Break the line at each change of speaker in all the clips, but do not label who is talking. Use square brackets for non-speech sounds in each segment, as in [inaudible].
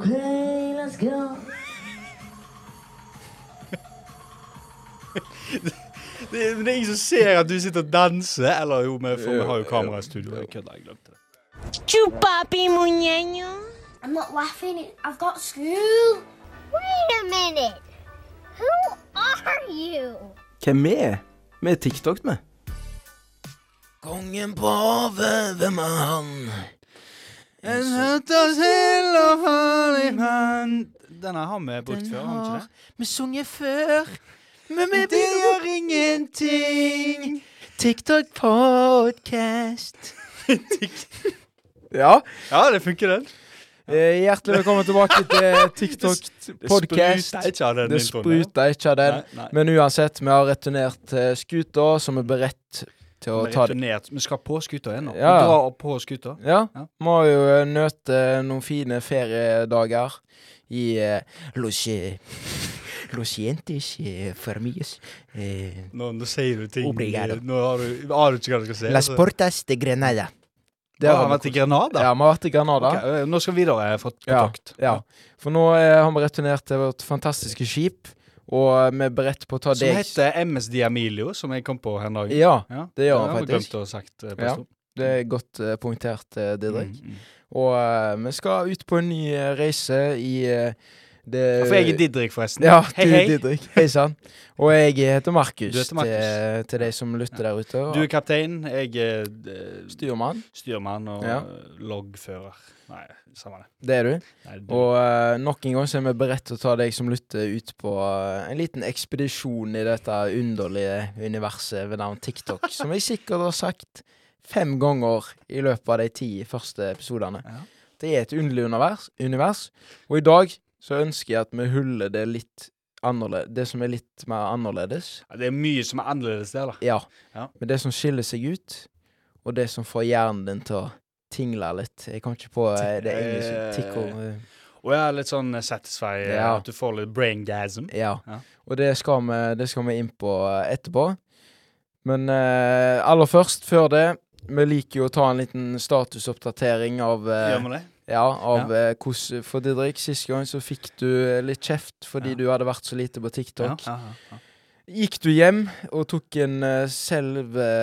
Okay, let's go.
Det, men det er ingen som ser at du sitter og danser. Eller jo, vi, får, vi har jo
Jo,
kamera i
jo,
studio.
jo.
Jeg kødder, jeg glemte det.
Chupapi muñeño.
I'm not laughing. I've got school.
Wait a minute. Who are you?
Hvem vi er? Vi er TikTok, vi.
Kongen på havet, hvem er han? En høtter til og farlig mann Denne har vi brukt før, har vi ikke det?
Vi sunget før, men
Det gjør ingenting.
TikTok podcast. [laughs] ja,
Ja, det funker, den.
eh, hjertelig velkommen tilbake til TikTok podcast.
spruter ikke av den
Det
introen.
spruta ikke av den.
Nei, nei.
Men uansett, vi har returnert til skuta, som er beredt til å
Vi
ta det.
returnert. Vi skal på skuta igjen nå. Vi
Ja.
drar opp på skuta.
Ja,
Ja.
må jo eh, nøte noen fine feriedager i eh, Los, [laughs] eh, Los Gentes eh, Fermies eh,
Nå, nå sier du ting
Obrigado.
Nå har du, har du ikke hva du skal si.
Las
altså.
Portas de Grenada.
Å, har vi vært i Grenada.
Ja, vi har vært i Granada.
Ok, ø, nå skal vi videre eh, for
Ja,
kontakt.
Ja, for nå eh, har vi returnert til vårt fantastiske skip, og eh, vi er beredt på å ta
Som
deg
heter MS Diamilio, som jeg kom på her en dag.
Ja,
Ja,
det gjør
har
han
vi
faktisk.
glemt å ha sagt. eh, på
Ja,
stund.
Det er godt eh, poengtert, eh, Didrik.
Mm, mm.
Og eh, vi skal ut på en ny eh, reise i eh, det
Ja, For jeg er Didrik, forresten.
Eh, Ja, du
Hei,
er
hei.
Didrik. Hei sann. Og jeg heter Markus,
Du heter Markus.
Til, til de som lytter der ute. Og
Du er kaptein, jeg er eh,
styrmann.
styrmann og
Ja.
eh, loggfører. Nei, samme det.
Det er du.
Nei, du.
Og eh, nok en gang så er vi beredt til å ta deg som lytter ut på eh, en liten ekspedisjon i dette underlige universet ved navn
[laughs]
TikTok, som jeg sikkert har sagt fem ganger i løpet av de ti første episodene.
Ja.
Det er et underlig univers, univers, og i dag så ønsker jeg at vi huller det litt annerledes, det som er litt mer annerledes.
Ja, det er mye som er annerledes der, da.
Ja.
Ja.
Men det som skiller seg ut, og det som får hjernen din til å tingle litt Jeg kom ikke på eh, det engelske
Eh,
tickle eh,
Og jeg er litt sånn eh, satisfy, eh,
Ja.
at du får litt braingasm.
Ja.
Ja.
Og det skal, vi, det skal vi inn på eh, etterpå. Men eh, aller først, før det Vi liker jo å ta en liten statusoppdatering av eh,
Gjør vi det?
Ja, av eh, hvordan For Didrik, sist gang så fikk du eh, litt kjeft fordi
Ja.
du hadde vært så lite på TikTok.
Ja, ja, ja.
Gikk du hjem og tok en uh,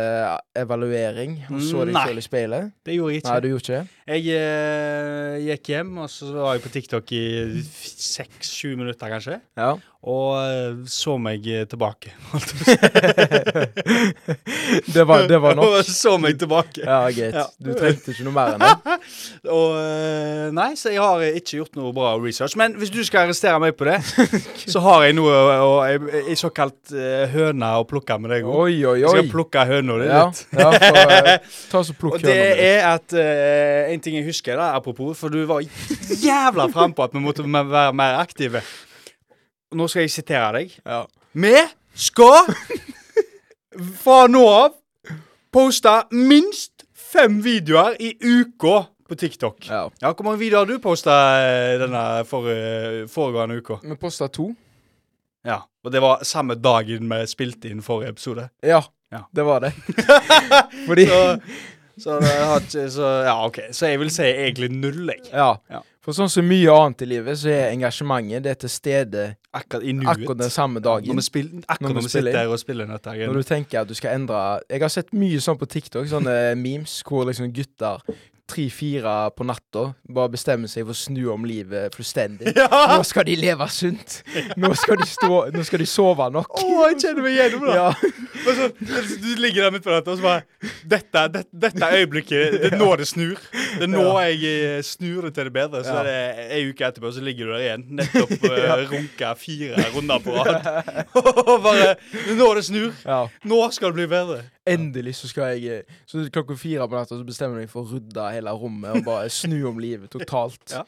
selvevaluering og så deg
Nei.
selv i speilet?
Det gjorde jeg ikke.
Nei, du gjorde ikke det?
Jeg eh, gikk hjem, og så var jeg på TikTok i seks-sju minutter, kanskje.
Ja.
Og eh, så meg eh, tilbake. holdt jeg på å si.
det, var, det var
[laughs]
nok.
Og så meg tilbake.
Ja, greit.
Ja.
Du trengte ikke noe mer enn det.
Og eh, Nei, så jeg har eh, ikke gjort noe bra research. Men hvis du skal arrestere meg
[laughs]
på det, så har jeg noe å- å- ei- ei såkalt eh, høne å plukke med deg òg.
Oi, oi,
Jeg
oi.
skal plukke høna di
Ja,
litt.
ja,
[laughs]
for, eh, ta så plukk
Og det
høna mi.
er at eh, En ting jeg husker, da, apropos, for du var jævla frampå at vi måtte m- være mer aktive. Nå skal jeg sitere deg.
Ja.
Vi skal fra nå av poste minst fem videoer i uka på TikTok.
Ja.
Ja, Hvor mange videoer har du posta denne forrige- foregående uka?
Vi posta to.
Ja, Og det var samme dagen vi spilte inn forrige episode.
Ja,
Ja.
det
[laughs]
var det. Fordi
Så, så, det har ikke- så ja, OK. Så jeg vil si egentlig null, jeg.
Ja.
Ja.
For sånn som mye annet i livet, så er engasjementet det er til stede
Akkurat i nuet.
akkurat den samme
Når
dagen.
vi spiller, akkurat
Når vi
når vi
spiller
sitter
inn.
der og spiller dette her.
Når du tenker at du skal endre Jeg har sett mye sånn på TikTok, sånne [laughs] memes hvor liksom gutter tre-fire på natta bare bestemmer seg for å snu om livet fullstendig.
[laughs] Ja!
Nå skal de leve sunt! Nå skal de, stå, nå skal de sove nok.
Å, jeg kjenner meg gjennom det!
Ja,
Og så, du ligger der midt på dette og så bare Dette, det, dette er øyeblikket. Det er nå det snur. Det er nå jeg eh, snur det til det bedre. Så
Ja.
er det ei uke etterpå, så ligger du der igjen. [laughs] Nettopp uh, runka fire runder på rad. [laughs] Og bare Det er nå det snur.
ja.
Nå skal det bli bedre.
Endelig så skal jeg Så klokka fire på natta så bestemmer jeg meg for å rydde hele rommet og bare snu om livet totalt.
Ja.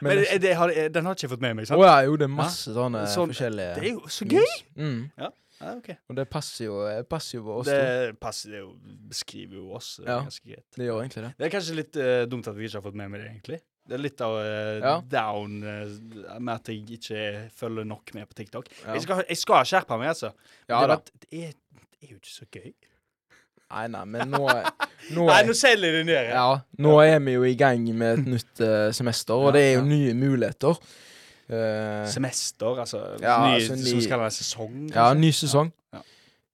Men,
Men det, det, har, den har ikke jeg fått med meg,
Å
sant?
ja, jo, det er masse sånne
Sånn-
forskjellige
Det er jo så gøy!
Mm.
Ja, Ah, ok.
Og det passer jo, passer jo på oss
Det
to.
passer det jo. Beskriver jo oss eh,
Ja.
ganske greit.
Det gjør egentlig det.
Det er kanskje litt eh, dumt at vi ikke har fått med meg det, egentlig. Det er litt av eh,
Ja.
down eh, med at jeg ikke følger nok med på TikTok.
Ja.
Jeg, skal, jeg skal skjerpe meg, altså. Men det,
Ja da.
var- det, er, det er jo ikke så gøy.
Nei, nei, men nå, nå
Nei,
er,
nå selger de ned. Ja.
ja, nå er vi jo i gang med et nytt eh, semester, og det er jo nye muligheter. Eh,
Semester, altså.
Ja,
ny,
altså, ny-
Som skal være sesong.
ja,
kanskje?
ny sesong.
Ja,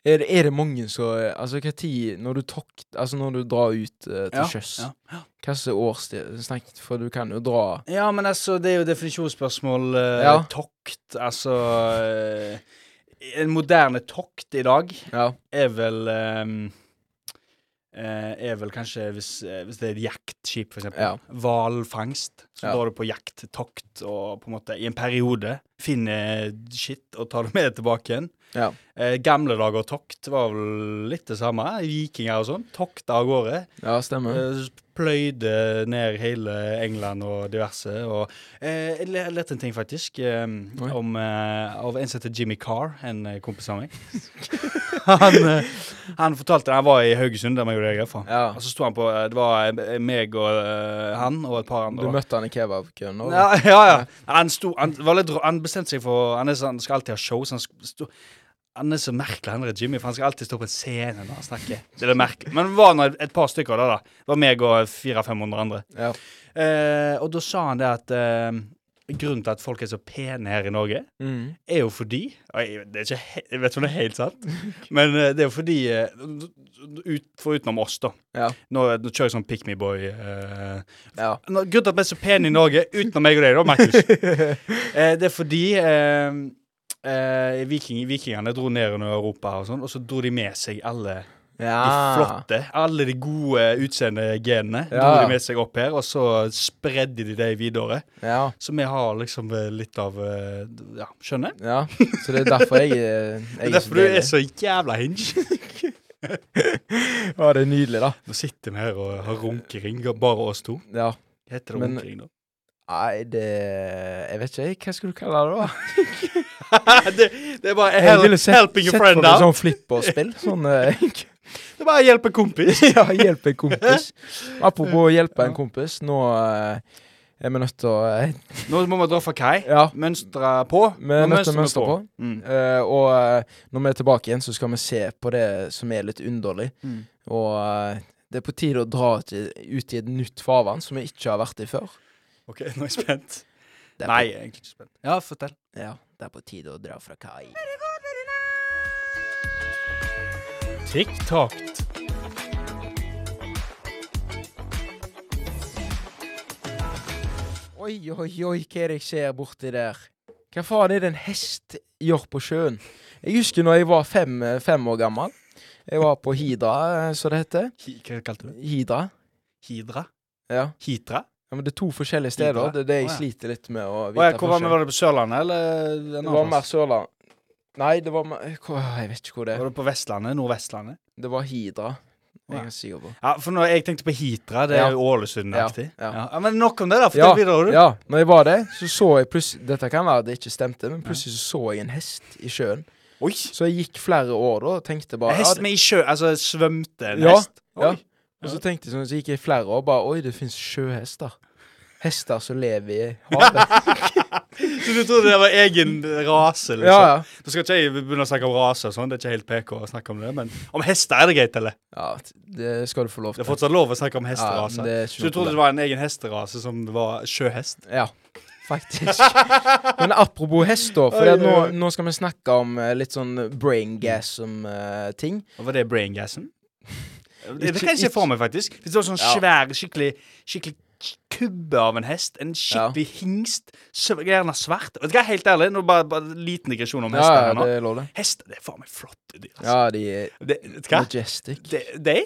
Er det, er det mange som Altså, hva tid Når du tok, altså når du drar ut eh, til
Ja,
sjøs,
ja.
hva slags årstid snakket For du kan jo dra
Ja, men altså, det er jo definisjonsspørsmål. eh,
Ja.
Tokt, altså eh, En moderne tokt i dag
Ja.
er vel ehm, eh, Er vel kanskje hvis, eh, hvis det er et jaktskip, for eksempel.
ja.
Hvalfangst. Så
Ja.
drar du på jakttokt og på en måte i en periode finner shit og tar det med tilbake igjen.
Ja.
Eh, gamle dager tokt var vel litt det samme. Vikinger og sånn. Tokta av gårde.
ja stemmer.
Eh, Pløyde ned hele England og diverse. Og, eh, jeg le- lærte en ting, faktisk, eh,
Oi.
om, eh, av en som heter Jimmy Carr, en eh, kompis av meg. [laughs] han, eh, han fortalte Han var i Haugesund, der vi gjorde det jeg er fra.
Ja.
Og så sto han på eh, Det var eh, meg og eh, han og et par andre.
Du
da.
møtte han i kebabkøen nå?
Ja, ja, ja. Han, sto, han, var litt, rå- han bestemte seg for Han, er, sånn- han skal alltid ha show. Så han, sk- sto, han er så merkelig, han der Jimmy, for han skal alltid stå på en scene når han snakker. Det er det merkelig. Men det var nå et par stykker da, da. Det var meg og 400-500 andre.
Ja.
Eh, og da sa han det at eh, grunnen til at folk er så pene her i Norge,
Mm.
er jo fordi og jeg, det er ikke, he- jeg vet ikke om det er helt sant, men eh, det er jo fordi eh, ut, For utenom oss, da.
Ja.
Nå, nå kjører jeg sånn pick me boy. Eh,
ja.
nå, grunnen til at vi er så pene i Norge, utenom meg og deg, da,
[laughs]
Markus eh, Det er fordi eh, eh, viking, vikingene dro ned under Europa, og sånn Og så dro de med seg alle de
Ah.
flotte, alle de gode utseende genene. Dro
Ja.
de med seg opp her, og så spredde de det videre.
Ja.
Så vi har liksom eh, litt av eh, Ja, skjønner?
ja. Så det er derfor jeg,
Det
eh,
er
jeg
derfor du
deilig.
er så jævla hinge.
Ja, det er nydelig, da.
Nå sitter vi her og har runkering, bare oss to.
Ja.
Heter det
Men-
runkering, da?
Nei, det Jeg vet ikke, jeg. Hva skal du kalle det, da?
det, [laughs] det er bare
Jeg
hel
ville sett-
helping a
sett
friend
for meg
out.
Sånn flipperspill. Sånn
[laughs]
eh,
Det er bare å hjelpe en kompis.
[laughs] Ja, hjelpe en
[laughs]
kompis. Apropos å hjelpe en kompis, nå eh, er vi nødt til å eh,
Nå må vi dra fra kai.
Ja.
Mønstre på.
Vi er
Nå
nødt til å mønstre på.
Mm.
Eh, og eh, når vi er tilbake igjen, så skal vi se på det som er litt underlig.
Mm.
Og eh, det er på tide å dra ut i, ut i et nytt farvann som vi ikke har vært i før.
OK, nå er jeg spent.
Det er
Nei, jeg er egentlig ikke spent. Ja, fortell.
På, ja, det er på tide å dra fra kai.
TikTok.
Oi, oi, oi, hva er det jeg ser borti der? Hva faen er det en hest gjør på sjøen? Jeg husker når jeg var fem, eh, fem år gammel. Jeg var på Hidra, eh, som det heter.
Hva kalte du det?
Hidra.
Hidra?
Ja.
Hitra?
ja, men det er to forskjellige steder.
Hidra?
Det er det jeg
Å, ja.
sliter litt med å
Å, ja,
vite
hvor var, vi?
forskjell.
var det på Sørlandet, eller en
Det
annen
var
plass?
mer Sørland. Nei, det var mer hvor- Jeg vet ikke hvor det er.
Var det på Vestlandet? Nordvestlandet?
Det var Hidra.
Ja.
Jeg er sikker på.
Ja, for når jeg tenkte på Hitra, det
Ja.
er jo Ålesund-aktig.
Ja,
Ja,
ja.
Men nok om det, da. Fortell videre, du.
ja, når jeg var det, så så jeg plutselig Dette kan være det ikke stemte, men plutselig så så jeg en hest i sjøen.
Oi!
Så jeg gikk flere år da og tenkte bare
En hest
ja,
med i sjø, altså svømte en
Ja,
hest?
ja.
Oi.
Og så tenkte jeg sånn, så gikk jeg i flere år bare Oi, det fins sjøhester. Hester som lever
[laughs]
i havet. liksom.
Så du trodde det var egen rase, liksom?
Ja, ja.
Nå skal ikke jeg begynne å snakke om rase og sånn, det er ikke helt PK å snakke om det, men om hester er det greit, eller?
ja det skal du få lov
Det
til.
er fortsatt lov å snakke om
Ja,
hesterase.
det er ikke
så du
noe
trodde
problem.
det var en egen hesterase som var sjøhest?
Ja,
[laughs]
faktisk. Men apropos hest, da. For
Oi,
at nå,
oi, oi.
nå skal vi snakke om eh, litt sånn brain eh, gas-ting.
Og var det braingassen? Det, det
Ikke-
kan jeg se for meg, faktisk. Hvis det var sånn
Ja.
svær, skikkelig, skikkelig k- kubbe av en hest, en skikkelig hingst, sv- gjerne svart Vet du hva, helt ærlig, nå bare, bare liten digresjon om
Ja,
hester
ja,
her nå.
det er lov, det.
Hester, det er faen meg flotte dyr, altså.
Ja, de er
Det, vet du hva?
majestic.
De, de?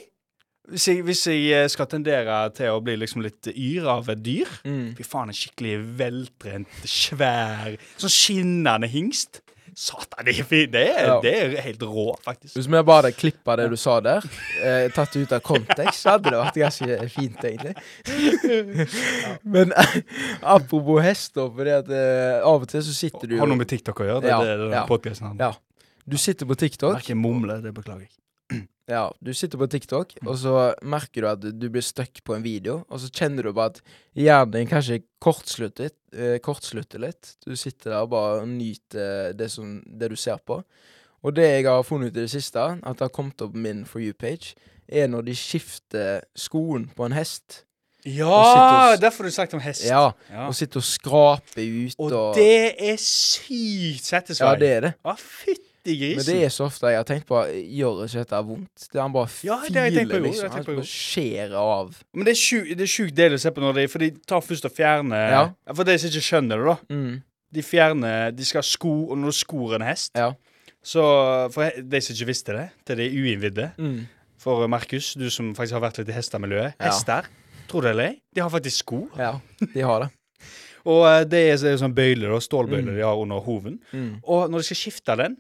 Hvis jeg, hvis jeg eh, skal tendere til å bli liksom litt yr av et dyr
Mm.
Fy faen, en skikkelig veltrent, svær, sånn skinnende hingst. Satan, det er fint. Det, er-
Ja.
det er helt rå, faktisk.
Hvis vi bare klippa det du sa der, eh, tatt det ut av kontekst, så hadde det vært ganske
[laughs]
fint, egentlig. Men eh, apropos hest, da, fordi at eh, av og til så sitter du
Har noe med TikTok å gjøre. Det
Ja,
er det, det,
ja.
podcasten handler om.
Ja. Du sitter på TikTok,
Verken mumle, det beklager jeg.
ja, du sitter på TikTok,
Mm.
og så merker du at du blir stuck på en video, og så kjenner du bare at hjernen din kanskje kortslutter, litt- eh, kortslutter litt. Du sitter der og bare nyter det, som, det du ser på. Og det jeg har funnet ut i det siste, at det har kommet opp på min For you-page, er når de skifter skoen på en hest.
Ja!
Og sitter og-
Derfor har du sagt om hest.
Ja,
Ja.
Og sitter og skraper ut og,
Og det er sykt
Ja,
satisfying.
det er det.
Å, fytti
Men
grisen.
det er så ofte jeg har tenkt på Gjør ikke dette vondt? Det er han bare
Ja,
filer,
det har jeg tenkt på i går, det har jeg
liksom.
tenkt
Han
på i går.
bare skjærer av.
Men det er sju- det er sjukt deilig å se på når de For de tar først og fjerner
Ja.
For de som ikke skjønner det, da.
Mm.
De fjerner De skal ha sko, og når du skor en hest
Ja.
Så for he- de som ikke visste det, til de uinnvidde
Mm.
For Markus, du som faktisk har vært litt i hestemiljøet.
Ja.
Hester, tror du det eller ei, de har faktisk sko.
ja. De har det.
Og eh, det er så- sånn bøyle, da, stålbøyle
Mm.
de har under hoven.
Mm.
Og når de skal skifte den,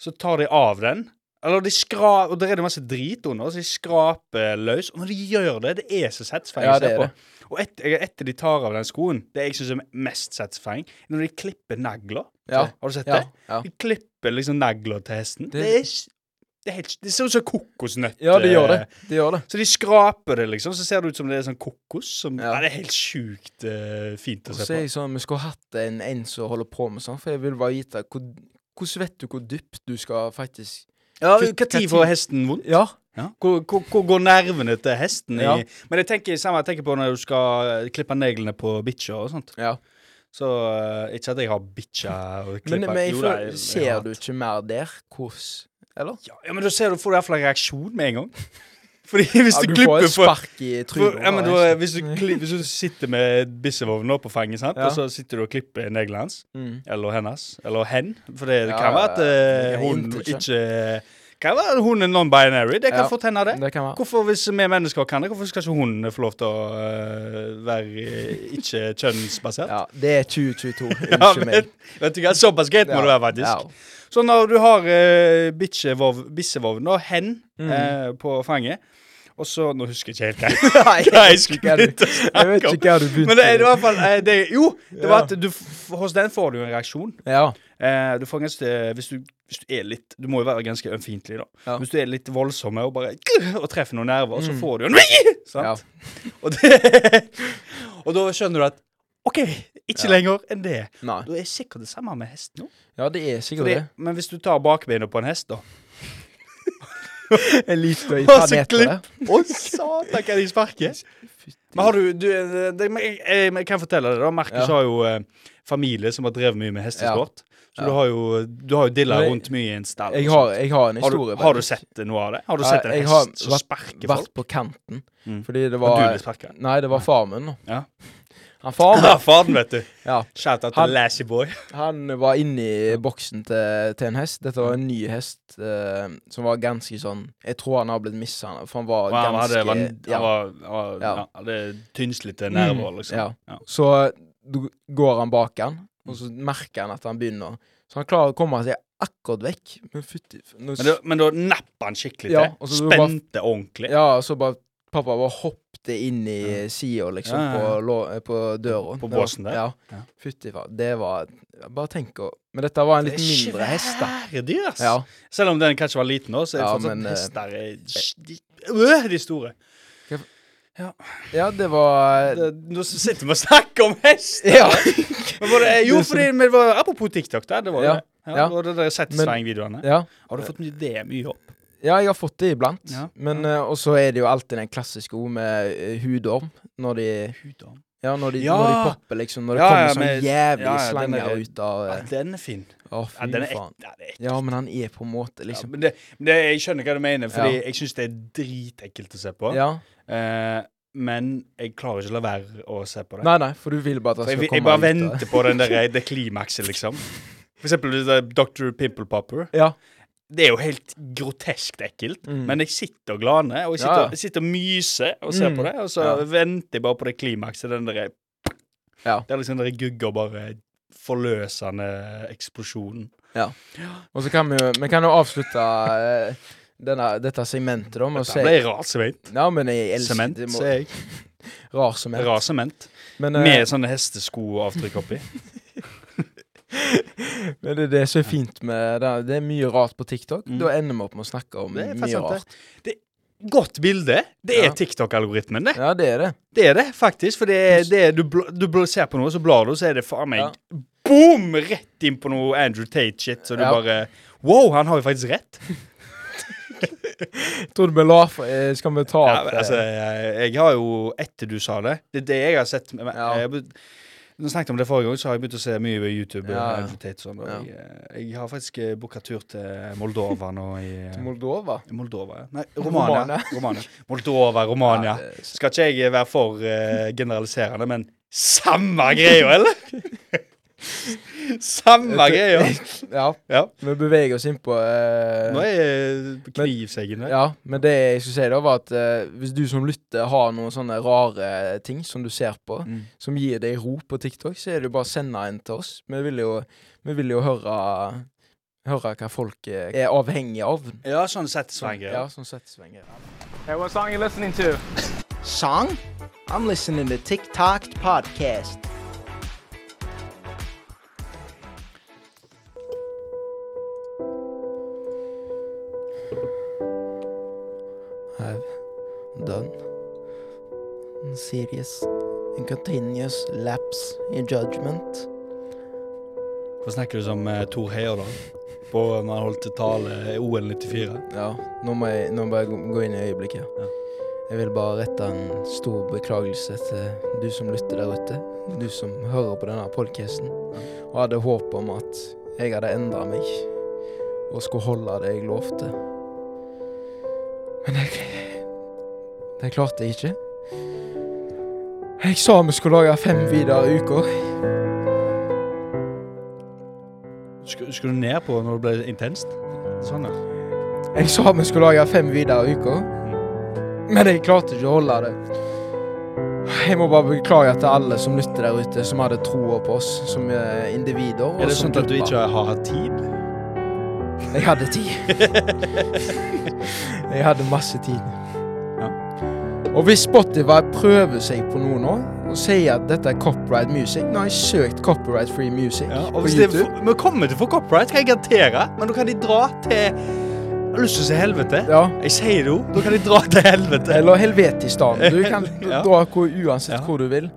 så tar de av den. Eller de skraper Og der er det masse drit under, så de skraper løs. Og når de gjør det, det er så satisfying
Ja,
å se
det er
på. Og etter, etter de tar av den skoen, det jeg syns er mest satisfying, når de klipper nagler.
Ja.
Har du sett
Ja.
det?
Ja.
De klipper liksom nagler til hesten. Det, er, s- det, er helt, det ser ut som kokosnøtt.
ja, de gjør det.
eh,
De gjør det.
Så de skraper det, liksom. Så ser det ut som det er sånn kokos. Som,
Ja.
ja. Det er helt sjukt eh, fint å
Og
se
så er
på.
jeg sånn, Vi skulle hatt en, en som holder på med sånn, for jeg vil bare vite hvor- Hvordan vet du hvor dypt du skal faktisk
Ja, Når
Kutt- kutt-
får hesten vondt?
[laughs] Ja.
Hvor, hvor, hvor går nervene til hesten?
Ja.
I, men jeg tenker samme jeg tenker på når du skal eh, klippe neglene på bikkja og sånt.
ja.
Så eh, ikke at jeg har bikkja og
Men,
klipper
men jeg
Jo, da,
føler,
jeg- jeg
ser
har
du
hatt.
ikke mer der? Hvordan Eller?
ja, ja, men da ser du, får du iallfall en reaksjon med en gang. [laughs] Fordi hvis
Ja,
du,
du får
klipper
et
for,
spark i
for
trynet.
ja, men
da,
da,
nesten.
hvis, du, kli- hvis du sitter med bissevogn nå på fanget, sant?
Ja.
og så sitter du og klipper neglene hans
Mm.
Eller hennes. Eller hen. For det, det
Ja,
kan være at
ja,
eh,
ja,
hun
intet
ikke
kjønn.
Kan være at hun er non-binary. Det kan
Ja,
fort hende, det.
Det kan være.
Hvorfor, hvis vi mennesker kan det, hvorfor skal ikke hun få lov til å eh, være eh, ikke kjønnsbasert?
Ja, det er 2022.
[laughs] Ja,
Unnskyld
men,
meg.
vet du hva, Såpass greit må
Ja,
du være, faktisk. [laughs]
ja.
Så når du har uh, bissevovn og hen
Mm.
eh, på fanget Og så Nå husker jeg ikke helt hva jeg- hva jeg skulle
hva du-
begynne å
Jeg vet
snakke om.
ikke hva du begynte
Men det er i
med.
hvert fall eh, det, Jo, det var at du, f- hos den får du jo en reaksjon.
Ja.
Eh, du får ganske, hvis, du, hvis du er litt Du må jo være ganske ømfintlig, da.
Ja. Mm.
Hvis du er litt voldsom og bare og treffer noen nerver, så får du jo en
ja.
sant? Og, det, [laughs] og da skjønner du at OK, ikke lenger enn det.
Nei.
Da er sikkert det samme med hesten òg.
Ja, det er sikkert det.
Men hvis du tar bakbeina på en hest, da
Jeg [laughs] liker å
Og
ta
så
ned på det.
klipp! Å, [laughs] satan, hva de sparker! Men har du, du eh, det, men jeg, jeg, men jeg kan fortelle deg, da. Markus
Ja.
har jo eh, familie som har drevet mye med hestesport. Så
Ja.
du har jo, du har jo dilla
Men jeg-
rundt mye i en stall. og
Jeg
sånt.
har, jeg har en
Har du,
historie.
har du
faktisk.
sett noe av det? Har du
Ja,
sett en
jeg
hest
har
som
vært-
sparker
Vært
folk?
på kanten.
Mm.
Fordi det
Har du
var
blitt sparket?
Nei, det var faren min. nå.
Ja.
Han faren
Ja, [laughs]
min
faden, vet du.
ja,
Shout out
Han-
til Lassie Boy.
han var inni boksen til, til en hest. Dette var en ny hest eh, som var ganske sånn Jeg tror han har blitt mishandlet, for han var
Og han
ganske
hadde, var,
ja.
han var, han var,
Ja.
ja, hadde tynnslite nerver,
Mm,
liksom.
ja.
Ja.
Så d- går han bak han, og så merker han at han begynner. Så han klarer å komme seg akkurat vekk. Men fytti f- nå s-
Men, da, men da nappa han skikkelig til.
Ja, og så du bare-
Spente ordentlig.
Ja, og så bare Pappa bare hoppet inn i sida, liksom,
Ja, ja, ja.
På, lå- eh, på døra.
På
Det var-
båsen der? Ja.
Ja. Fytti faen. Det var Bare tenk å Men dette var en litt mindre hest, da.
Svære dyr, ass.
Ja.
Selv om den kanskje var liten nå, så er det
Ja,
fortsatt
men, eh,
hester er- de, øh, de store.
ja, det var
Det, nå sitter vi og snakker om hest!
[laughs] Ja.
Men var det, jo, fordi men det var, Apropos TikTok, der, det var jo
Ja,
det. Ja,
ja.
Det var det der Satisfying-videoene.
ja.
Har du fått mye det mye opp?
Ja, jeg har fått det iblant.
Ja,
Men eh, Og så er det jo alltid den klassiske ord med eh, hudorm. Når de Ja, når de,
Ja.
Når de popper, liksom. Når det
Ja,
kommer
ja,
sånn
men- ja,
jævlig
ja, den
slanger
er-
ut av
Ja,
eh,
den er fin.
Å,
Ja,
fy
den er ek-
faen.
ja, det er ek-
Ja, men han er på en måte,
ja,
liksom.
men det, men det, jeg skjønner hva du mener, Fordi
Ja.
jeg syns det er dritekkelt å se på.
Ja.
Eh, men jeg klarer ikke å la være å se på det.
Nei, nei, for du vil bare at
For
han
jeg,
skal
jeg
komme
bare
ut av
venter på den der, eh, det klimakset, liksom. For eksempel det der Dr. Pimple Popper.
Ja.
Det er jo helt grotesk ekkelt,
Mm.
men jeg sitter og glaner, og jeg
Ja,
sitter,
ja.
jeg sitter og myser og ser
Mm.
på det, og så
Ja.
venter jeg bare på det klimakset, den der
Ja.
Der liksom dere gugger bare forløsende eksplosjonen.
Og så kan vi jo Vi kan jo avslutte eh, denne, dette segmentet, da, med
Dette
å si
ble rar sement.
Ja, men jeg elsker
Sement,
det må-
sier jeg.
[laughs] Rar sement.
Rar sement.
Men, eh,
Med sånne hesteskoavtrykk
[laughs]
oppi.
men det er det som er fint med det. Det er mye rart på TikTok. Da ender vi opp med å snakke om
Mm. Det er
mye
faktisk sant,
rart.
det. det. Godt bilde. Det er
Ja.
TikTok-algoritmen, det.
Ja, det er det.
Det er det, faktisk. For det er, det er, du, bl du bl ser på noe, så blar du, så er det faen meg
Ja.
boom! Rett inn på noe Andrew Tate-shit, så du
Ja.
bare Wow, han har jo faktisk rett!
Tror du vi lar for- eh, Skal vi ta
Ja,
opp
men
eh,
altså, jeg, jeg har jo Etter du sa det Det er det jeg har sett. Men,
Ja.
jeg, har begynt- når jeg snakket om det forrige gang, så har jeg begynt å se mye på YouTube.
Ja,
og
ja.
aktivitet og sånn, og
Ja.
jeg, jeg har faktisk eh, booka tur til Moldova nå i
[laughs] til eh, Moldova?
Moldova, ja. Nei, Romania. Romania. Moldova, Romania.
Ja, det-
Skal ikke jeg være for eh, generaliserende, men samme greia, eller? samme greia!
Ja.
Ja.
Vi beveger oss inn på eh,
Nå er knivseggen der.
Ja, men det jeg skulle si da, var at eh, hvis du som lytter har noen sånne rare ting som du ser på,
Mm.
som gir deg ro på TikTok, så er det jo bare å sende en til oss. Vi vil jo, vi vil jo høre, høre hva folk eh, er avhengig av.
Ja, sånn settesvanger.
Ja, som settesvenger.
Hey, what song are you listening to?
Song? I'm listening to TikTok podcast. I've done serious and continuous lapse in judgment.
Hva snakker du som eh, Tor Heier, da? På når han holdt tale eh, i OL 94?
Ja, nå må jeg, nå må jeg gå gå inn i øyeblikket.
Ja.
Jeg vil bare rette en stor beklagelse til du som lytter der ute, du som hører på denne podkasten, og hadde håp om at jeg hadde endra meg og skulle holde det jeg lovte. Men jeg Det klarte jeg ikke. Jeg sa vi skulle lage fem videoer i uka.
Skulle skulle du ned på når det ble intenst? Sånn, ja.
Jeg sa vi skulle lage fem videoer i uka, men jeg klarte ikke å holde det. Jeg må bare beklage til alle som lytter der ute, som hadde troa på oss som eh, individer. og
Er det
som
sånn at du
grupper.
ikke har hatt tid?
Jeg hadde
[laughs]
tid. jeg hadde masse tid.
Ja.
Og hvis Spotify prøver seg på noe nå, og sier at dette er copyright music Nå har jeg søkt copyright free music
Ja, og
på
hvis det
YouTube.
vi kommer til å få copyright, kan jeg garantere. Men da kan de dra til Jeg har lyst til å si helvete.
Ja.
Jeg sier det jo. Da kan de dra til helvete.
Eller Helvetistan. Du kan
[laughs] Ja.
dra hvor, uansett
Ja.
hvor du vil.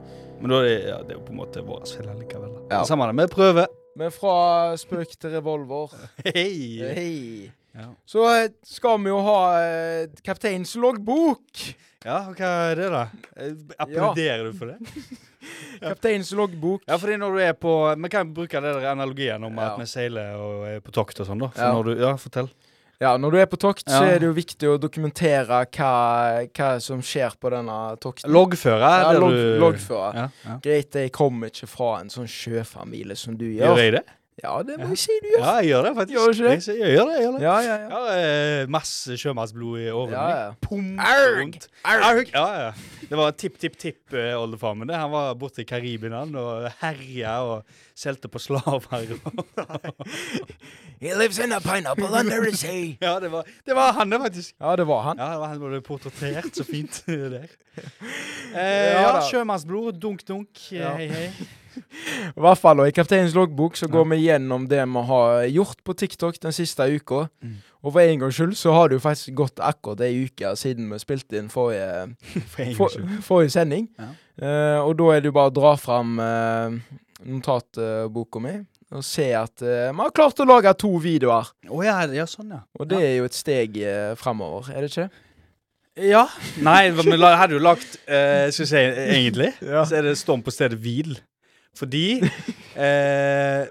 Men da er det, ja, det er jo på en måte vår feil likevel. da.
Ja.
Det Samme det. Vi prøver.
Men fra spøk til revolver.
Hei.
Hei.
Ja.
Så eh, skal vi jo ha eh, kapteinens loggbok.
Ja, og hva er det, da? Eh, Applauderer du for det?
Kapteinens loggbok.
Ja, fordi når du er på Vi kan bruke den der analogien om
Ja.
at vi seiler og er på tokt og sånn, da. For
Ja.
når du Ja, fortell.
Ja, når du er på tokt, så
Ja.
er det jo viktig å dokumentere hva, hva som skjer på denne tokten.
Loggføre.
Ja,
det
logg,
du-
loggføre.
Ja, ja.
Greit, jeg kommer ikke fra en sånn sjøfamilie som du
Gjør
gjør.
jeg det?
Ja, det må jeg si du gjør.
Ja, jeg gjør det faktisk.
Gjør du ikke det?
Jeg sier- Jeg gjør det, jeg gjør det.
Ja, ja, ja.
Jeg har eh, masse sjømannsblod i årene.
Ja, ja.
Pump rundt. Arg! Ja, ja. Det var tipp-tipp-tipp-oldefaren eh, min. det. Han var borte i Karibien han, og herja og solgte på slaver. [laughs]
He lives in a pineapple under the sea.
ja, det var, det var han, det, faktisk.
[laughs] Ja, det var han.
Ja, det var Han som ble portrettert så fint [laughs] der. Eh,
Ja,
ja,
da.
sjømannsblod. Dunk-dunk.
Ja.
Hei, hei.
I hvert fall, og I Kapteinens loggbok så går vi gjennom det vi har gjort på TikTok den siste uka.
Mm.
Og for en gangs skyld så har det jo faktisk gått akkurat ei uke siden vi spilte inn forrige,
For en gangs
for,
skyld.
forrige sending.
Ja.
Eh, og da er det jo bare å dra fram eh, notatboka mi og se at eh, vi har klart å lage to videoer.
Å ja, ja, sånn, ja.
Og det er jo et steg uh, framover, er det ikke?
Ja. Nei, men la- hadde jo lagt eh, Skal vi si egentlig,
Ja.
så er det storm på stedet hvil. Fordi eh,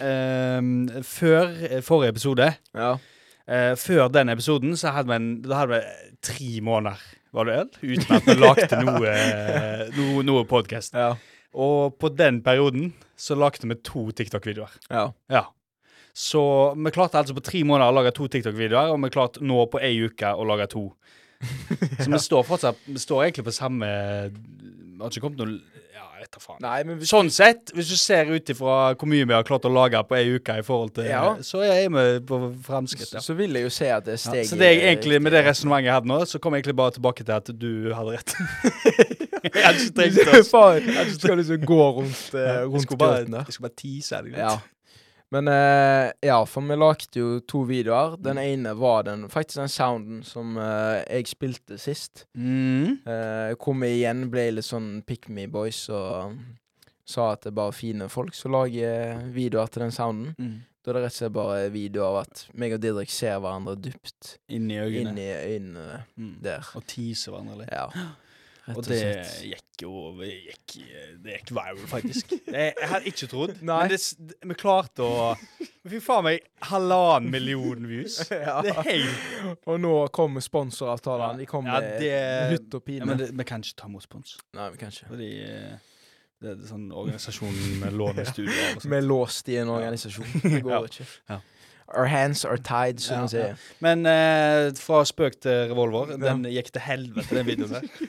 ehm, Før eh, forrige episode
Ja.
eh, Før den episoden så hadde vi, en, da hadde vi tre måneder var det øl, uten at vi lagde noe, noe, noe podkast.
Ja.
Og på den perioden så lagde vi to TikTok-videoer.
ja.
Ja. Så vi klarte altså på tre måneder å lage to TikTok-videoer, og vi klarte nå på ei uke å lage [laughs] to. Så vi står fortsatt Vi står egentlig på samme Har ikke kommet noe Ja, jeg tar faen.
Nei, men hvis,
Sånn sett, hvis du ser ut ifra hvor mye vi har klart å lage på ei uke, i forhold til,
Ja.
så er vi på framskritt.
så,
Ja.
så vil jeg jo si at det er steg eh,
Så det jeg egentlig, med det resonnementet jeg hadde nå, så kom jeg egentlig bare tilbake til at du hadde [laughs] rett. jeg hadde ikke trengt å
Faen, skal du så gå rundt, eh,
Jeg
rundt
skulle bare,
grøten der?
jeg skulle bare tease deg litt.
Ja. Men eh, ja, for vi lagde jo to videoer. Den
Mm.
ene var den, faktisk den sounden som eh, jeg spilte sist.
Mm.
Eh, hvor vi igjen ble litt sånn pick me um, boys og sa at det er bare fine folk som lager eh, videoer til den sounden.
Mm.
Da er det rett og slett bare video av at meg og Didrik ser hverandre dypt
Inn i
inn
øynene.
i øynene
Mm.
der.
Og tease hverandre litt. [gasps]
Ja. Rett
Og det
slett.
gikk jo det gikk, det gikk viral,
[laughs]
faktisk. Jeg, jeg hadde ikke trodd.
Nei.
Men det, s- det- vi klarte å Vi fikk faen meg halvannen million
[laughs]
views. [laughs]
Ja.
Det er helt
Og nå kommer sponsoravtalene. De kommer
Ja,
med
det-
hytt og pine.
ja, Men det, vi kan ikke ta imot spons.
Nei, men kanskje.
Fordi eh, det er sånn organisasjonen
[laughs]
med lånestudier og
Vi
sånt.
er låst i en
[laughs]
organisasjon. Det går
Ja.
ikke.
Ja.
Our hands are tied,
Ja,
som de sier.
Men eh, fra spøk til revolver. Den gikk til helvete, den videoen
[laughs]
der.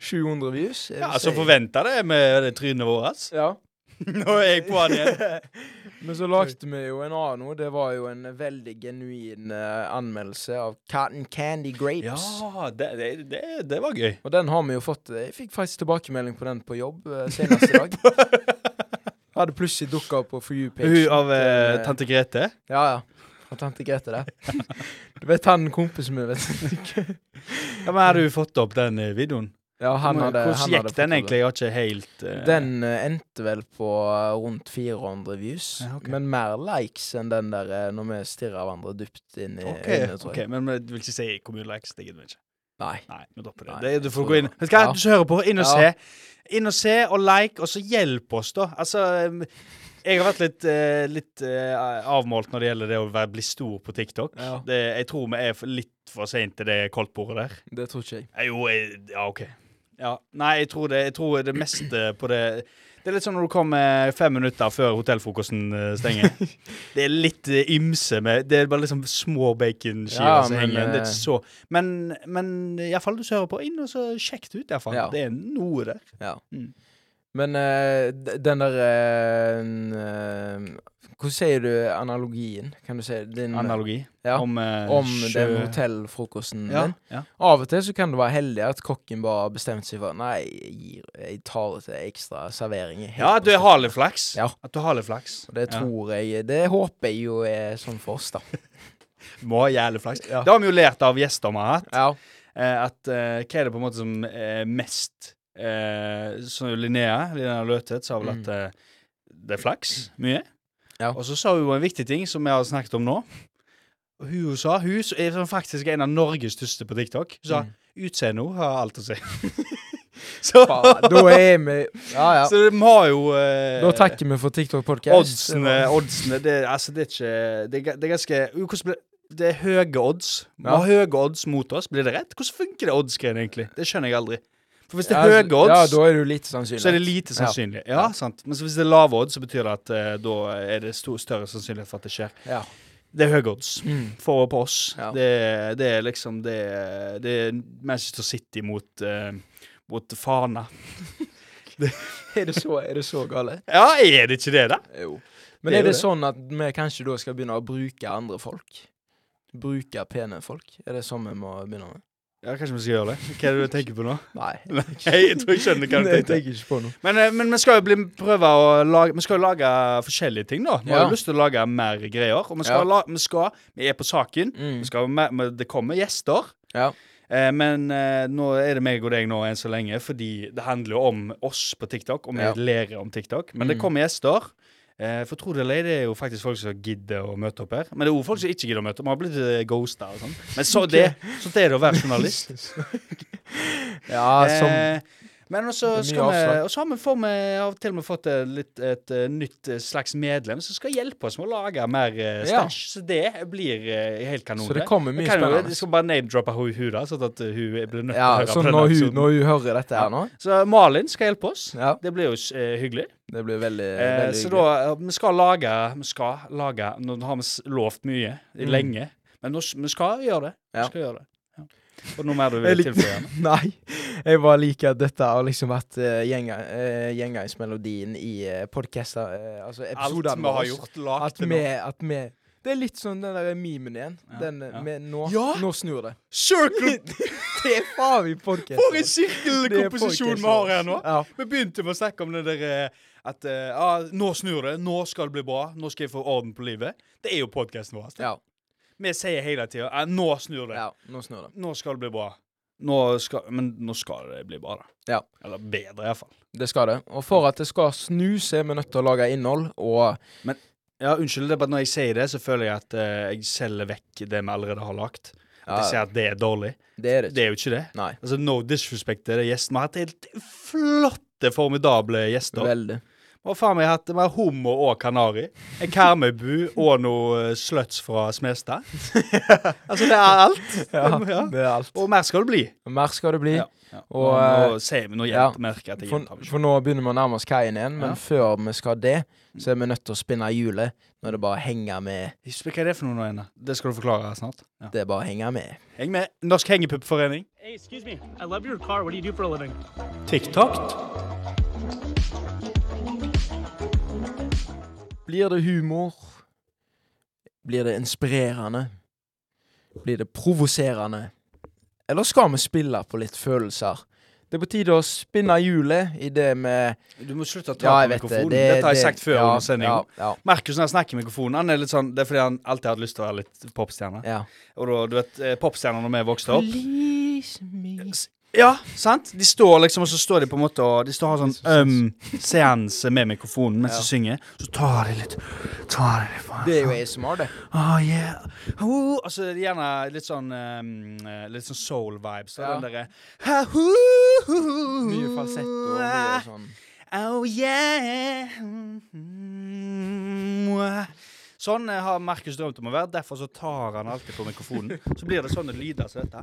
700 views. jeg vil
Ja, Som
si.
forventa det med det trynet vårt. [laughs]
Ja.
Nå er jeg på den igjen.
[laughs] Men så lagde vi jo en annen nå. Det var jo en veldig genuin eh, anmeldelse av Cotton Candy
Ja,
Grapes.
det, det, det, det var gøy.
Og den har vi jo fått eh, Jeg fikk faktisk tilbakemelding på den på jobb eh, senest
[laughs]
i dag. Hadde plutselig dukka opp på For you-page.
Hun av eh, tante Grete.
Ja, ja. Av tante Grete, det. Du vet han kompisen min, vet du. [laughs]
Ja, men Hadde hun fått opp den eh, videoen?
Ja, han hadde,
Hvordan
han
gikk
hadde fått
den
det.
egentlig? Jeg har ikke helt eh,
Den eh, endte vel på eh, rundt 400 views,
Ja, ok.
men mer likes enn den der eh, når vi stirrer hverandre dypt inn i
OK,
øynene, eh, tror
ok,
jeg.
men jeg vil ikke si kommunelex. Det gidder vi ikke.
Nei.
Nei, vi dropper det.
Nei,
det du får
jeg
gå
tror
inn.
det.
Vet du hva,
Ja.
du som hører på, inn og
Ja.
se. Inn og se, og like, og så hjelp oss, da. Altså em, Jeg har vært litt, eh, litt eh, avmålt når det gjelder det å være, bli stor på TikTok.
Ja.
Det, jeg tror vi er for, litt for seint til det koldtbordet der.
Det tror ikke jeg.
Eh, Jo, jeg, ja, OK. Ja. Nei, jeg tror det, jeg tror det meste på det Det er litt sånn når du kommer fem minutter før hotellfrokosten eh, [laughs] stenger. det er litt eh, ymse med Det er bare liksom små baconskiver
Ja,
som
men,
henger igjen. Det er
eh,
ikke så Men, men iallfall du som hører på, inn og så sjekk det ut, iallfall.
Ja.
Det er noe der.
Ja.
Mm.
Men eh, d- den der eh, n- eh, Hvordan sier du analogien? Kan du si din
Analogi
Mm. ja, om,
om, eh,
den hotellfrokosten
Ja,
din?
ja.
Av og til så kan det være heldig at kokken bare har bestemt seg for Nei, jeg, gir, jeg tar det til ekstra servering. helt
ja,
på
at du
slutten."
har litt flaks.
Ja.
At du har litt flaks.
Og det
Ja.
tror jeg Det håper jeg jo er sånn
[laughs]
for oss, da.
Du må ha jævlig flaks.
Ja.
Det har vi jo lært av gjester vi har hatt.
Ja.
eh, at eh, hva er det på en måte som er mest eh, Så Linnea, Linnea Løthet, sa vel
Mm.
at eh, det er flaks mye.
Ja.
Og så sa hun jo en viktig ting som vi har snakket om nå. Og Hun hun sa Hun s- er sånn faktisk en av Norges største på TikTok. Hun sa
Mm.
utseendet hennes har alt å si. [laughs] så,
Faen, da er vi Ja, ja.
[laughs] så vi har jo eh,
Da takker vi for TikTok Podcast.
Oddsene, oddsene det, altså, det er ikke Det er, ga- det er ganske jo, hvordan blir- Det er høye odds. Vi
Ja.
har høye odds mot oss. Blir det rett? Hvordan funker det oddsgreiene egentlig? Det skjønner jeg aldri. For hvis det
Ja, altså,
er høye odds,
Ja, da er du lite sannsynlig.
så er det lite sannsynlig. Ja, sant. Men så hvis det er lave odds, så betyr det at eh, da er det stor, større sannsynlighet for at det skjer.
Ja.
Det er høye odds. [laughs]
Mm.
For på oss.
Ja.
Det, det er liksom det, er- det er Manchester City mot, eh, mot Fana.
Er, det så, er det så gale?
Ja, er det ikke det, da?
Jo. Men
Det er
er det
jo det.
sånn at vi kanskje da skal begynne å bruke andre folk? Bruke pene folk? Er det sånn vi må begynne med?
Ja, Kanskje vi skal gjøre det? Hva er det du tenker på nå?
Nei.
[laughs] Nei, jeg tror jeg skjønner
[laughs]
hva du
Nei, jeg
tenkte.
tenker ikke på noe.
Men, eh, men vi skal jo bli, prøve å lage Vi skal jo lage forskjellige ting, da. Vi har
Ja.
jo lyst til å lage mer greier. Og vi skal,
Ja.
la, vi, skal vi er på saken.
Mm.
Vi skal, ha mer- men det kommer gjester.
Ja.
Eh, men eh, nå er det meg og deg nå enn så lenge, fordi det handler jo om oss på TikTok. Og vi
Ja.
lærer om TikTok. Men det
Mm.
kommer gjester. Eh, for tro det eller ei, det er jo faktisk folk som gidder å møte opp her. Men det er òg folk som ikke gidder å møte opp. Vi har blitt eh, ghosta og sånn. Men så det, sånt er det å være journalist. [laughs]
Ja, som
Eh, men
Det er
også
mye
skal vi,
avslag.
og så har vi, får vi av og til vi fått eh, litt, et eh, nytt eh, slags medlem som skal hjelpe oss med å lage mer uh,
Ja.
stæsj. Så det blir eh, helt kanon.
Så det kommer
Vi
mye
kan jo-
spennende.
Vi skal bare name-droppe hun, hun da, sånn at eh, hun blir nødt til
Ja,
å høre
sånn
på
når
denne
hun,
episoden.
når hun hører dette her nå.
Så Malin skal hjelpe oss.
Ja.
Det blir jo eh, hyggelig.
Det blir veldig,
Eh,
veldig
så
hyggelig.
da eh, Vi skal lage Vi skal lage Nå har vi s- lovt mye i
Mm.
lenge, men nå, s- vi skal gjøre det.
Ja.
Vi skal gjøre det. Ja. Og noe mer du
Jeg
vil [laughs]
lik-
tilføye? Anne?
[laughs] Nei, jeg bare liker at dette har liksom vært uh, gjengangsmelodien i uh, podkaster eh, Altså
Alt
episodene
vi har
våre.
gjort, lagt
At
til
vi,
nå.
at vi Det er litt sånn den der memen igjen.
Ja,
Den
ja.
med nå,
Ja!
nå snur det. [laughs]
[laughs] Circle
Det er faen meg podkast.
For en sirkelkomposisjon vi har her nå!
Ja.
Vi begynte med å snakke om det der eh, at eh, ah, nå snur det, nå skal det bli bra, nå skal jeg få orden på livet. Det er jo podkasten vår.
Ja,
Vi sier hele tida ah, nå snur det,
ja, nå snur det.
nå skal det bli bra. Nå skal, men nå skal det bli bra, da.
Ja.
Eller bedre, iallfall.
Det skal det. Og for at det skal snu, så er vi nødt til å lage innhold og
Ja, unnskyld, det er bare når jeg sier det, så føler jeg at eh, jeg selger vekk det vi allerede har lagt. At jeg sier at det er dårlig.
det er det
Det
ikke.
er jo ikke det.
Nei.
Altså, No disrespect til de gjestene. Vi har hatt helt flotte, formidable gjester.
Veldig.
Og faen meg hatt med homo og kanari. En Karmøybu og noe eh, sluts fra Smestad. [laughs] altså, det er alt. Ja.
Det er alt.
Og mer skal det bli.
Mer skal det bli.
Ja. Ja.
Og,
Og,
eh,
nå sier vi noe
ja.
jevnt, merker jeg at jeg
For,
gjentar meg selv.
for nå begynner vi å nærme oss kaien igjen, men
Ja.
før vi skal det, så er vi nødt til å spinne hjulet. Når det bare henger med.
Jeg husker Hva er det for noe nå igjen? da? Det skal du forklare snart. Ja.
Det bare henger med.
Heng med. Norsk hengepuppforening.
Hey, excuse me. I love your car. What do you do for a living?
TikTok.
Blir det humor? Blir det inspirerende? Blir det provoserende? Eller skal vi spille på litt følelser? Det er på tide å spinne hjulet i det med
Du må slutte å ta
Ja, jeg
på
vet det.
mikrofonen.
det
Dette har jeg
det-
sagt før
ja,
under sendingen.
Ja,
Markus når han snakker i mikrofonen, han er litt sånn, det er fordi han alltid har hatt lyst til å være litt popstjerne.
ja, ja.
Og da, du vet, eh, popstjerner når vi vokste opp
Please me.
S- Ja, sant? De står liksom, og så står de på en måte og De står og har sånn um, seanse med mikrofonen mens de synger. Så tar de litt Tar de litt faen.
Det er jo ASMR, det.
Oh, yeah. Oh, og så er det gjerne litt sånn ehm, eh, Litt sånn soul-vibes.
Ja.
Ja. Den derre ha, hu, hu, hu,
[laughs] Mye falsetto og
Ah.
mye sånn.
Oh yeah Mwah. Sånn eh, har Markus drømt om å være, derfor så tar han alltid på mikrofonen. Så blir det sånne lyder som dette.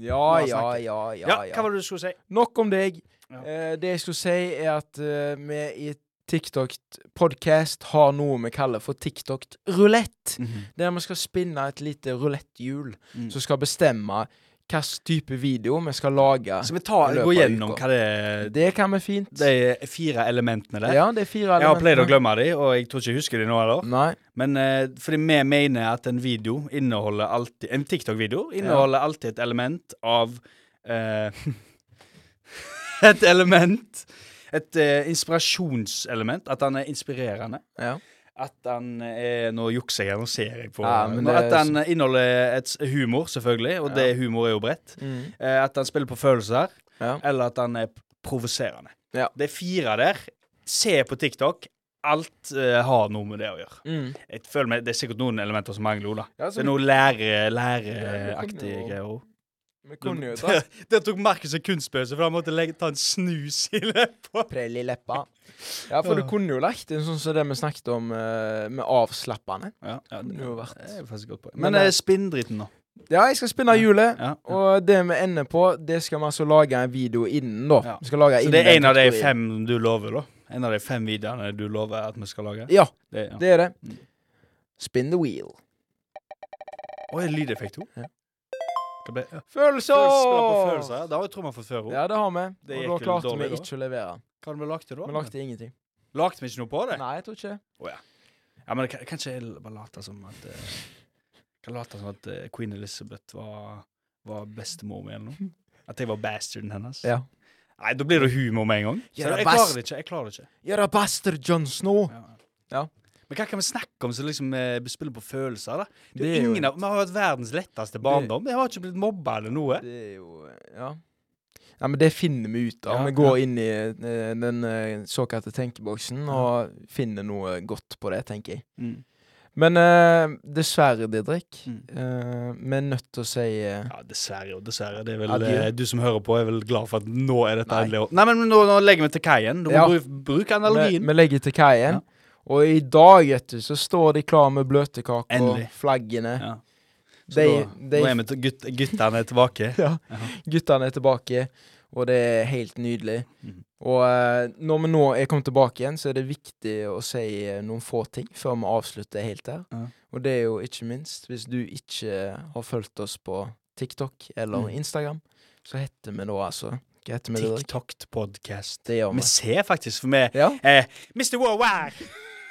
Ja,
Nå
ja,
snakker jeg.
ja, ja,
Ja,
ja.
hva var det du skulle si?
Nok om deg.
Ja.
Eh, det jeg skulle si, er at eh, vi i TikTok Podcast har noe vi kaller for TikTok rulett. Der vi skal spinne et lite ruletthjul
Mm.
som skal bestemme hvilken type video vi skal lage.
Så vi tar,
I løpet
går
av
gjennom
uka.
hva det er
Det kan vi fint.
de fire elementene der.
ja, det er fire
Jeg har pleid å
elementer.
glemme de, og jeg tror ikke jeg husker de nå heller.
Nei.
Men eh, fordi vi mener at en video inneholder alltid En TikTok-video inneholder alltid et element av eh, [laughs] Et element Et eh, inspirasjonselement. At han er inspirerende.
Ja.
At han er Nå jukser jeg, nå ser jeg på
Ja, men
Nå-
det er
At han inneholder et s- humor, selvfølgelig, og det humor er jo bredt.
Mm.
Eh, at han spiller på følelser,
Ja.
eller at han er p- provoserende.
Ja.
Det er fire der. Se på TikTok. Alt eh, har noe med det å gjøre.
Mm.
Jeg føler meg, Det er sikkert noen elementer som mangler, Ola.
Ja, altså, så
det er
vi-
noe lære- læreaktig
Ja, det
greier.
Vi kunne jo
Der,
tatt
der tok Markus en kunstpause, for han måtte legge, ta en snus i leppa.
prell i leppa. Ja, for du kunne jo lagt inn sånn som det vi snakket om eh, med avslappende.
Ja, ja, det
Kunne jo vært.
er faktisk godt på.
Men,
Men
eh,
eh, spinn driten nå.
Ja, jeg skal spinne hjulet.
Ja.
Og det vi ender på, det skal vi altså lage en video innen, da.
Ja.
Vi skal lage
Så
innen
det er en av de
kategorien.
fem du lover, da? En av de fem videoene du lover at vi skal lage?
Ja,
Det, ja.
det er det.
Mm.
Spin the wheel.
Oi, lydeffekt to.
Ja.
Det ble- ja. Spill på følelser,
Følelser!
ja. Det har vi tromma fra før òg.
Ja, det har vi.
Det
Og
gikk
da
jo
klarte
dårlig,
vi
da.
ikke å levere.
Hva har vi lagde da?
Vi lagde ingenting.
Lagde vi ikke noe på det?
Nei, jeg tror ikke det.
Ja, men kan, kanskje jeg bare late som at eh, Kan late som at eh, Queen Elizabeth var, var bestemor mi, eller noe. At jeg var bastarden hennes.
Ja.
Nei, da blir det humor med en gang. Så
Ja,
jeg
bast-
klarer det ikke. jeg klarer det ikke
You're a bastard, John Snow.
ja.
Ja.
Men hva kan vi snakke om som liksom eh, spiller på følelser? da? Det
Det
er
er
jo
jo
ingen av, Vi har hatt verdens letteste barndom. Jeg har ikke blitt mobba eller noe.
Det er jo Ja. Ja, men det finner vi ut av.
Ja,
vi går inn i eh, den eh, såkalte tenkeboksen og finner noe godt på det, tenker jeg.
Mm.
Men eh, dessverre, Didrik,
Mm.
eh, vi er nødt til å si eh,
Ja, dessverre og dessverre. Det er vel,
Adjø.
eh, du som hører på, er vel glad for at nå er dette
Nei.
endelig over. Nei, men nå, nå legger vi til kaien. Du må
Ja.
bruke, bruke
vi,
analogien.
vi legger til kaien.
Ja.
Og i dag, vet du, så står de klar med bløtkake og
Endelig.
flaggene.
Ja. Så
De,
da,
de
nå er vi til gutt, guttene er tilbake.
guttene er tilbake, og det er helt nydelig.
Mhm.
Og eh, når vi nå er kommet tilbake igjen, så er det viktig å si eh, noen få ting før vi avslutter helt her.
Ja.
Og det er jo ikke minst, hvis du ikke har fulgt oss på TikTok eller
Mm.
Instagram, så heter vi nå altså Hva heter vi, Didrik?
TikTok-podkast.
Det gjør
Vi
vi.
ser faktisk, for vi
Ja.
eh, Mr. Worldwide!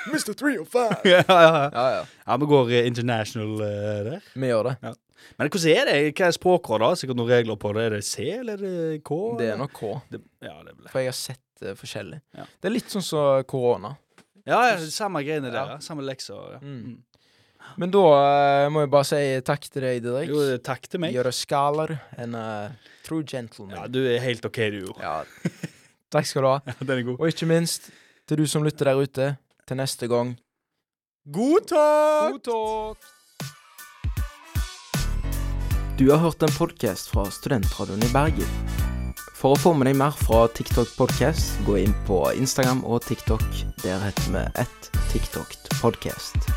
Mr. 305!
[laughs] ja, ja, ja.
[laughs] Ja, ja.
ja, vi går eh, international eh, der.
Vi gjør det.
Men hvordan er det? Hva er språkrådet? da? Sikkert noen regler på det. Er det C eller er det K?
Det er
eller?
nok K,
Det, ja, det er vel det.
for jeg har sett eh, forskjellig.
Ja.
Det er litt sånn som korona.
Ja, ja, samme greiene der. Ja. Samme lekser. Ja.
Mm.
Mm.
Men da eh, må jeg bare si takk til deg, Didrik.
Jo, takk til meg.
You're a scholar and a true gentleman.
Ja, du er helt OK, du, jo.
Ja. [laughs] Takk skal du ha.
[laughs] Den er god.
Og ikke minst til du som lytter der ute, til neste gang, God talk!
God talk!
Du har hørt en podkast fra Studentradioen i Bergen. For å få med deg mer fra TikTok Podcast, gå inn på Instagram og TikTok. Der heter vi ett TikTok Podcast.